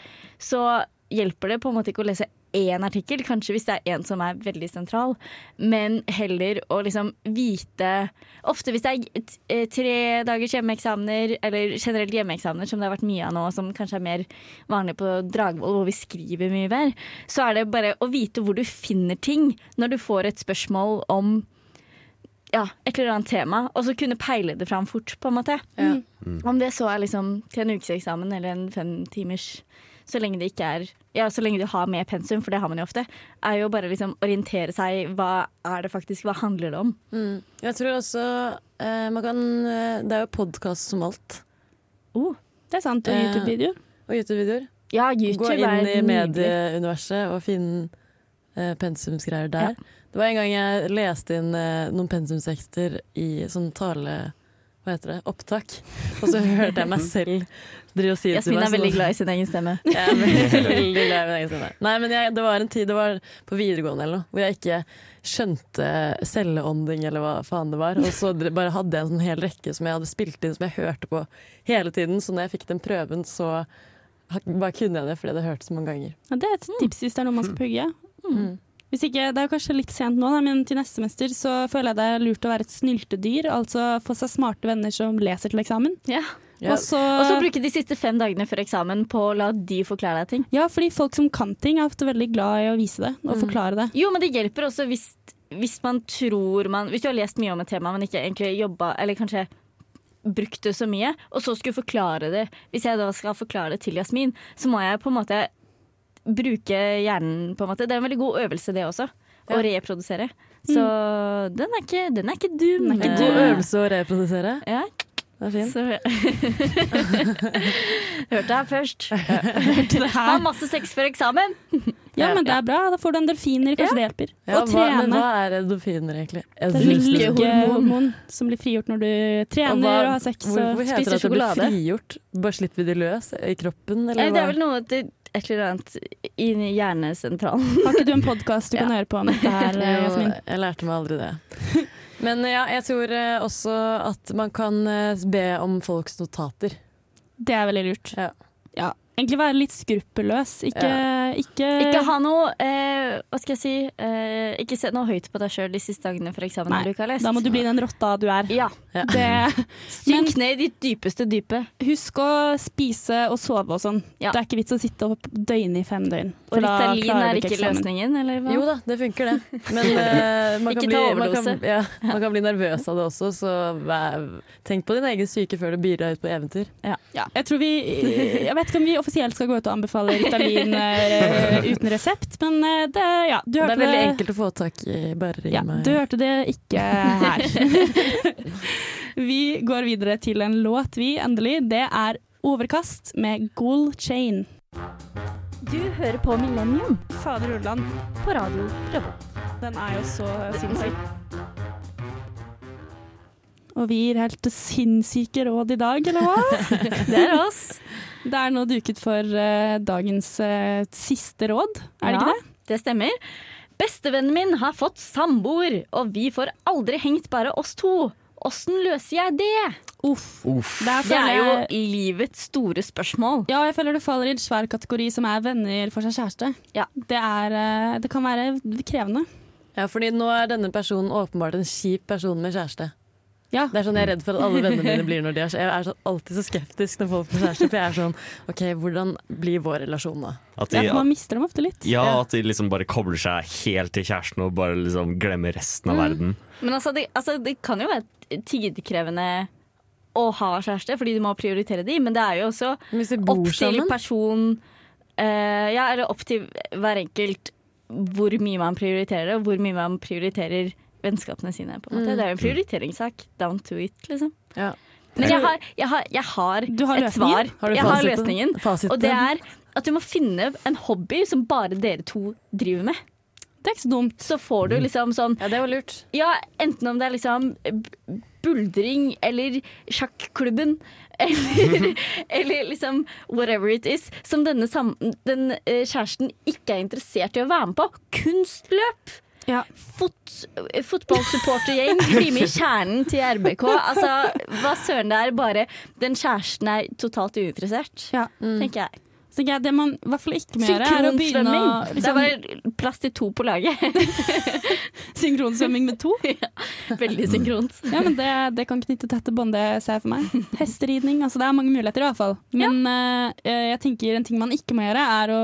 så hjelper det på en måte ikke å lese én artikkel, kanskje hvis det er en som er veldig sentral, men heller å liksom vite Ofte hvis det er eh, tre dagers hjemmeeksamener, eller generelt hjemmeeksamener som det har vært mye av nå, som kanskje er mer vanlig på Dragvoll, hvor vi skriver mye mer, så er det bare å vite hvor du finner ting når du får et spørsmål om ja, et eller annet tema, og så kunne peile det fram fort, på en måte.
Ja.
Om det så er liksom til en ukeseksamen eller en femtimers, så lenge det ikke er Ja, så lenge du har med pensum, for det har man jo ofte, er jo bare liksom orientere seg. Hva er det faktisk, hva handler det om?
Mm. Jeg tror også eh, man kan eh, Det er jo podkast som alt.
Det er sant. Og
Eh,
YouTube-videoer.
Og YouTube-videoer.
Ja, YouTube
Gå inn i
er nydelig.
medieuniverset og finn eh, pensumsgreier der. Det var en gang jeg leste inn eh, noen pensumstekster i sånn tale... Hva heter det? Opptak. Og så hørte jeg meg selv drive og si det til meg.
Jasmin er veldig
sånn-
glad i sin egen stemme.
Jeg er veldig glad i min egen stemme. Nei, men jeg, det var en tid, det var på videregående eller noe, hvor jeg ikke skjønte celleånding eller hva faen det var. Og så dre- bare hadde jeg en sånn hel rekke som jeg hadde spilt inn, som jeg hørte på hele tiden. Så når jeg fikk den prøven, så ha- bare kunne jeg det fordi jeg hadde hørt det så mange ganger. Mm.
Ja, det er et tips hvis det er noe man skal pugge. Mm. Hvis ikke, det er jo kanskje litt sent nå, da, men til neste mester så føler jeg det er lurt å være et snyltedyr. Altså få seg smarte venner som leser til eksamen.
Ja.
Ja.
Og så
Og så bruke de siste fem dagene før eksamen på å la de forklare deg ting.
Ja, fordi folk som kan ting, er ofte veldig glad i å vise det
Mm.
og forklare det.
Jo, men det hjelper også hvis, hvis man tror man Hvis du har lest mye om et tema, men ikke egentlig jobba Eller kanskje brukt det så mye, og så skulle forklare det. Hvis jeg da skal forklare det til Jasmin, så må jeg på en måte bruke hjernen, på en måte. Det er en veldig god øvelse, det også. Å reprodusere. Så den er ikke, Mm. den er ikke dum.
Den er
En
ikke
god
dum.
Eh,
øvelse å reprodusere.
Ja,
Det er fint.
så Hørte det her først. Ha masse sex før eksamen.
Ja, men det er bra. Da får du endorfiner, kanskje det hjelper.
Ja,
og
hva, men
trene.
hva er endorfiner, egentlig?
Det er sånn lykkehormon som blir frigjort når du
Og
trener og,
hva-
har sex
Hvor,
og
hvor heter det
spiser
at det blir
sjokolade.
frigjort? Bare slipper vi de løs i kroppen, eller
Nei, Det er vel noe at det, et eller annet i hjernesentralen.
Har ikke du en podkast du kan høre på om dette her,
Det er jo-
Jasmin?
Jeg lærte meg aldri det. Men ja, jeg tror eh, også at man kan eh, be om folks notater.
Det er veldig lurt.
Ja.
Ja. Egentlig være litt skruppelløs. Ikke, ikke,
Ikke ha noe eh, Hva skal jeg si? Eh, ikke sett noe høyt på deg sjøl de siste dagene for eksamen.
Nei,
når du ikke har lest.
Da må du bli den rotta du er.
ja.
Det,
Synk ned i ditt dypeste dype.
husk å spise og sove og sånn.
Ja.
Det er ikke vits å sitte opp døgnet i fem døgn.
Og
for da
Ritalin
klarer
er
du
ikke
eksamen.
løsningen, eller hva?
Jo da, det funker det. Men eh, man, kan
Ikke
bli,
ta
man, kan,
overdose.
ja, man kan bli nervøs av det også, så vær- tenk på din egen syke før du byr deg ut på eventyr.
Ja. Jeg, tror vi, jeg vet ikke om vi offisielt skal gå ut og anbefale Ritalin eh, uten resept, men eh, det, ja, du
Det
hørte
er veldig enkelt å få tak i, bare ring
Ja,
meg.
du hørte det ikke her. vi går videre til en låt, vi, endelig. Det er Overkast med Goal Chain.
Du hører på Millennium
Fader Ulland,
på radio. Revolt.
den er jo så sinnssyk. Og vi gir helt sinnssyke råd i dag, eller hva?
Det er oss.
Det er nå duket for eh, dagens eh, siste råd, er det ikke det?
Ja, det stemmer. Bestevennen min har fått samboer, og vi får aldri hengt bare oss to. Åssen løser jeg det?
Uff.
Uff.
Der
Det er
føler
jo
Altså, jeg-
livets store spørsmål.
Ja, jeg føler det faller i en svær kategori som er venner for seg kjæreste.
Ja.
Det, er, eh, det kan være krevende.
Ja, fordi nå er denne personen åpenbart en kjip person med kjæreste.
Ja.
Det er sånn Jeg er redd for at alle vennene mine blir når de har kjæreste. Jeg er sånn, alltid så skeptisk når folk får kjæreste, for jeg er sånn OK, hvordan blir vår relasjon da?
At
Ja,
de,
for man mister dem ofte litt.
ja, at de liksom bare kobler seg helt til kjæresten og bare liksom glemmer resten av verden.
Men altså, det, altså, det kan jo være tidkrevende å ha kjæreste, fordi du må prioritere de, men det er jo også
Men Hvis de
opp
bor
til
sammen?
person eh, Ja, eller opp til hver enkelt hvor mye man prioriterer, og hvor mye man prioriterer vennskapene sine. på en måte. Det er jo en prioriteringssak. Down to it, liksom.
Ja.
Men jeg har, jeg har, jeg har
Du har
et
løsningen?
svar.
Har du
jeg har
fasiten?
løsningen.
Fasiten?
Og det er at du må finne en hobby som bare dere to driver med.
Det er ikke så dumt.
Så får du liksom sånn
Ja, det var lurt.
Ja, enten om det er liksom b- buldring eller sjakklubben eller, eller liksom whatever it is, som denne sam den, eh, kjæresten ikke er interessert i å være med på. Kunstløp!
Ja.
Fot eh, Fotballsupportergjeng, bli med i kjernen til RBK. Altså, hva søren det er, bare den kjæresten er totalt uinteressert,
Ja.
tenker jeg.
Så tenker jeg, det man i hvert fall ikke må gjøre, er å begynne å
Synkronsvømming. Det er
liksom,
bare plass til to på laget.
Synkronsvømming med to.
Veldig synkront.
Ja, men det, det kan knytte tette bånd, det ser jeg for meg. Hesteridning. Altså, det er mange muligheter, i hvert fall. Men eh, jeg tenker en ting man ikke må gjøre, er å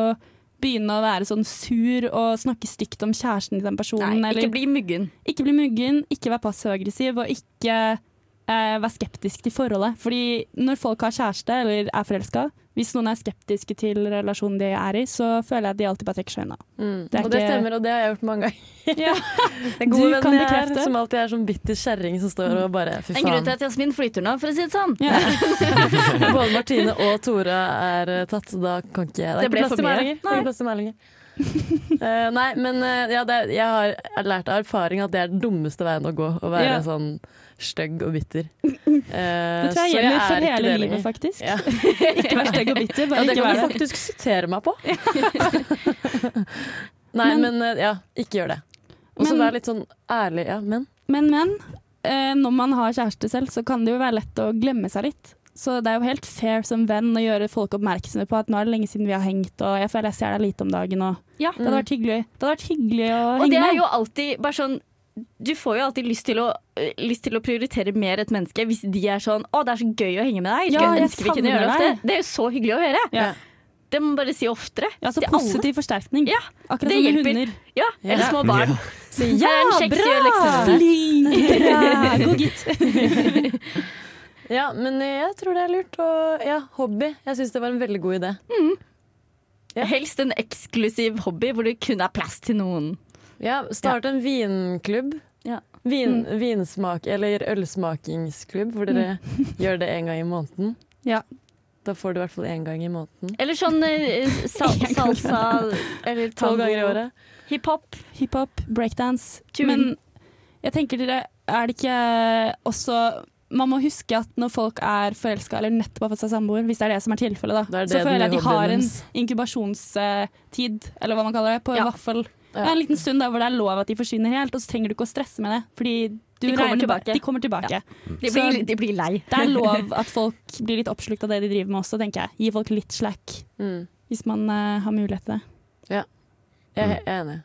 begynne å være sånn sur og snakke stygt om kjæresten til den
Nei,
personen. eller
ikke bli muggen.
Ikke bli muggen, ikke vær passiv-aggressiv, og ikke eh, vær skeptisk til forholdet. Fordi når folk har kjæreste eller er forelska, hvis noen er skeptiske til relasjonen de er i, så føler jeg at de alltid bare trekker seg unna. Det er
Mm. og det
ikke-
stemmer, og det har jeg gjort mange ganger.
Ja.
Det er gode
Du kan
venner jeg
bekrefte.
har, som alltid er sånn bitter kjerring som står og bare Fy
En grunn
faen.
til at Jasmin flyter nå, for å si det sånn.
Ja.
Både Martine og Tora er eh, tatt, så da kan ikke jeg Det
Det
er
ble
ikke plass
for
til meg
mye.
lenger. Det er ikke plass til meg lenger. Eh, nei, men eh, ja, det, er- jeg har lært av erfaring at det er den dummeste veien å gå. Å være
Ja.
sånn stygg og bitter. Eh,
Det tror jeg gjelder for hele livet,
faktisk.
faktisk.
Ja.
Ikke vær stygg og bitter,
Ja,
bare
det
ikke
kan
vær
du
det.
faktisk sitere meg på. Nei, men, eh, ja, ikke gjør det. Og så
Men-
vær litt sånn ærlig. Ja, men.
Men, men. eh, Når man har kjæreste selv, så kan det jo være lett å glemme seg litt. Så det er jo helt fair som venn å gjøre folk oppmerksomme på at nå er det lenge siden vi har hengt, og jeg føler jeg ser deg lite om dagen, og
Ja.
det hadde vært hyggelig, det hadde vært hyggelig å
Mm. Og det
henge
er
med.
jo alltid bare sånn Du får jo alltid lyst til å, øh, lyst til å prioritere mer et menneske hvis de er sånn 'Å, det er så gøy å henge med deg.'
Ja,
Skulle
jeg
ønske vi kunne
savner
gjøre det
deg.
ofte. Det er jo så hyggelig å høre.
Ja.
Det må man bare si oftere.
Ja, så
til alle.
positiv forsterkning.
Ja,
Akkurat
det
som med
hjelper.
hunder.
Ja, eller små barn.
Si
Her er en liksom. kjeks, gjør leksene.
Flink! Bra! God gitt.
Ja, men eh, jeg tror det er lurt. Og ja, hobby. Jeg syns det var en veldig god idé.
Helst en eksklusiv hobby hvor det kun er plass til noen.
Ja, Start en vinklubb.
Ja.
Vin,
Mm.
Vinsmak eller ølsmakingsklubb, hvor dere gjør det én gang i måneden.
Mm. Ja.
Da får du i hvert fall én gang i måneden.
Eller sånn eh, sal salsa eller
Tolv ganger i
tango.
året.
Hiphop.
Hiphop, breakdance.
Tune.
Men jeg tenker dere, er det ikke også man må huske at når folk er forelska eller nettopp har fått seg samboer, hvis det er det som er tilfellet,
Da
da,
er det
så
den
føler jeg at
nye
de har
hobbyen
en
deres.
inkubasjonstid, eller hva man kaller det, på
Ja.
i hvert fall
Ja.
en liten stund da, hvor det er lov at de forsvinner helt, og så trenger du ikke å stresse med det. Fordi du
De kommer
regner bare-
tilbake.
De kommer tilbake.
De
Så-
blir, de blir lei.
Det er lov at folk blir litt oppslukt av det de driver med også, tenker jeg. Gi folk litt slack
Mm.
hvis man eh, har mulighet til det.
Jeg er jeg er enig.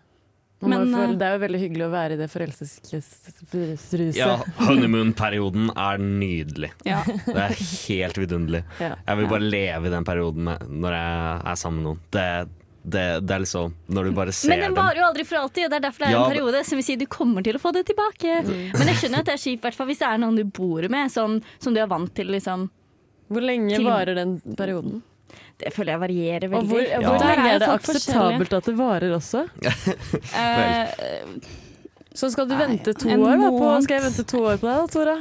Man må
Men,
jo føle,
eh,
det er jo veldig hyggelig å være i det forelselsesruset.
Ja, honeymoon-perioden er nydelig.
Ja.
Det er helt vidunderlig.
Ja.
Jeg vil bare leve i den perioden med- når jeg er sammen med noen. Det, det, det er liksom Når du bare ser
Men den
dem.
varer jo aldri for alltid, og det er derfor det er
Ja,
en
men-
periode som vil si du kommer til å få det tilbake. Men jeg skjønner at det er kjipt, hvertfall hvis det er noen du bor med, sånn, som du er vant til, liksom.
Hvor lenge
Til-
varer den perioden?
Det føler jeg varierer
Og hvor,
veldig.
hvor
Der
lenge
er jo
er det
folk
akseptabelt at det varer også?
Eh,
Så skal du vente to
en
år da, på
måned.
Skal jeg vente to år på deg da, Tora?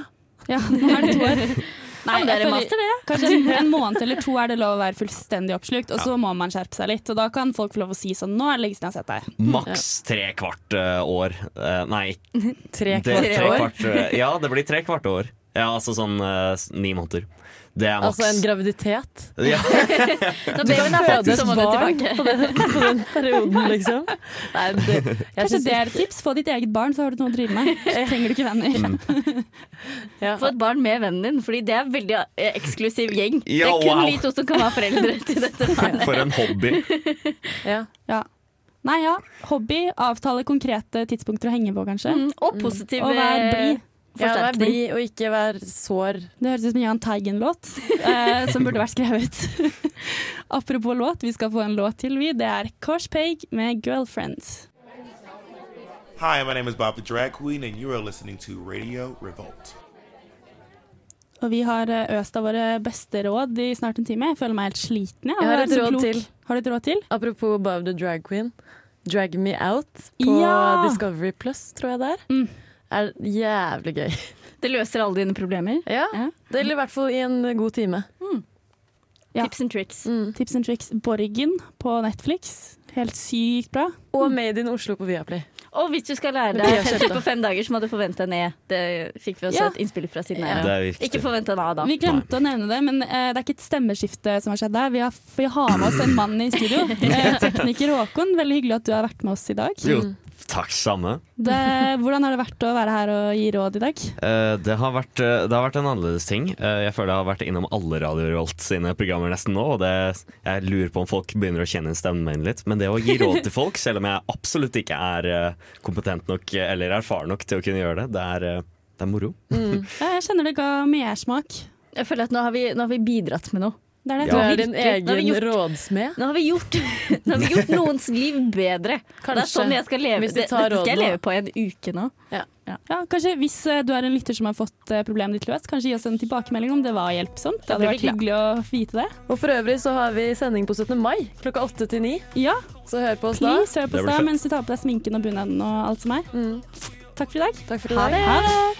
ja, nå er det to år. Nei,
men det er
jeg
en
føler-
master, det.
Kanskje en, en måned eller to er det lov å være fullstendig oppslukt, og så må man skjerpe seg litt. Og da kan folk få lov å si sånn Nå er det lenge siden jeg har sett deg.
Maks tre kvart eh, år. Eh, nei,
Tre
det,
kvart
tre
år?
kvart, eh, ja, det blir tre kvart år. Ja, altså sånn eh, s- ni måneder. Det er maks.
Altså en graviditet?
ja.
Når babyen er født, så må du tilbake.
på den, på den perioden, liksom? Nei, det, jeg
Kanskje
synes-
det er et tips? Få ditt eget barn, så har du noe å drive med. Så trenger du ikke venner.
ja.
Få et barn med vennen din, fordi det er en veldig eh, eksklusiv gjeng. Det
Ja,
er kun
wow.
vi to som kan være foreldre til dette barnet.
For en hobby.
ja.
Ja. Nei ja, hobby, avtale konkrete tidspunkter å henge på, kanskje.
Mm, Og positiv
Og vær blid.
ja, vær
forsterkning.
blid og ikke vær sår.
Det høres ut som en Jahn Teigen-låt, eh, som burde vært skrevet. Apropos låt, vi skal få en låt til, vi. Det er Kors Peg med 'Girlfriend'.
Hi, my name is Bob the Drag Queen, and you are listening to Radio Revolt.
Og vi har eh, øst av våre beste råd i snart en time. Jeg føler meg helt sliten. Jeg, av
Jeg
å
har
være
et
så
råd
klok.
til.
Har du et råd til?
Apropos Bob the Drag Queen. Drag Me Out på
Ja!
Discovery Plus, tror jeg det er.
Mm.
Er jævlig gøy.
Det løser alle dine problemer.
Ja.
Ja.
Det gjelder i hvert fall i en god time.
Ja.
Tips and tricks.
Tips and tricks Borgen på Netflix. Helt sykt bra.
Og Made in Oslo på Viaplay.
Og hvis du skal lære
Men det
deg
gjør
fem
kjøtt,
ting
da.
på fem dager, så må du forvente en E. Det fikk vi også
Ja.
et innspill fra siden
Det
her.
er viktig.
Ikke forvente en A, da.
Vi glemte å nevne det, men eh, det er ikke et stemmeskifte som har skjedd der. Vi har, vi har med oss en mann i studio. Eh, tekniker Håkon, veldig hyggelig at du har vært med oss i dag.
Jo, takk samme.
Det, hvordan har det vært å være her og gi råd i dag?
Eh, det, har vært, eh, det har vært en annerledes ting. Eh, jeg føler jeg har vært innom alle Radio Revolt sine programmer nesten nå. Og det, jeg lurer på om folk begynner å kjenne stemmen min litt. Men det å gi råd til folk, selv om jeg absolutt ikke er eh, kompetent nok eh, eller erfaren nok til å kunne gjøre det, det er, eh, det er moro.
Ja, jeg kjenner det ga mersmak.
Jeg føler at nå har vi, nå har vi bidratt med noe.
Det er det.
Du
Ja.
er din
Virkelig. Nå har vi
egen
gjort-
rådsmed.
Nå har vi gjort, nå har vi gjort noens liv bedre. Det
Kanskje.
er sånn jeg skal leve.
Hvis de
Det,
tar
dette skal jeg
rådene.
leve på i en uke nå.
Ja, kanskje Hvis eh, du er en lytter som har fått eh, problemet ditt løst, kanskje gi oss en tilbakemelding om det var hjelpsomt. Det hadde
blir
vært hyggelig å vite det.
Og for øvrig så har vi sending på 17. mai klokka 8 til 9.
Ja,
Så hør på oss da.
please, hør på oss
Det blir
da Mm.
fett.
mens du tar på deg sminken og bunaden og alt som er. Takk for i dag.
Takk for i dag.
Ha det.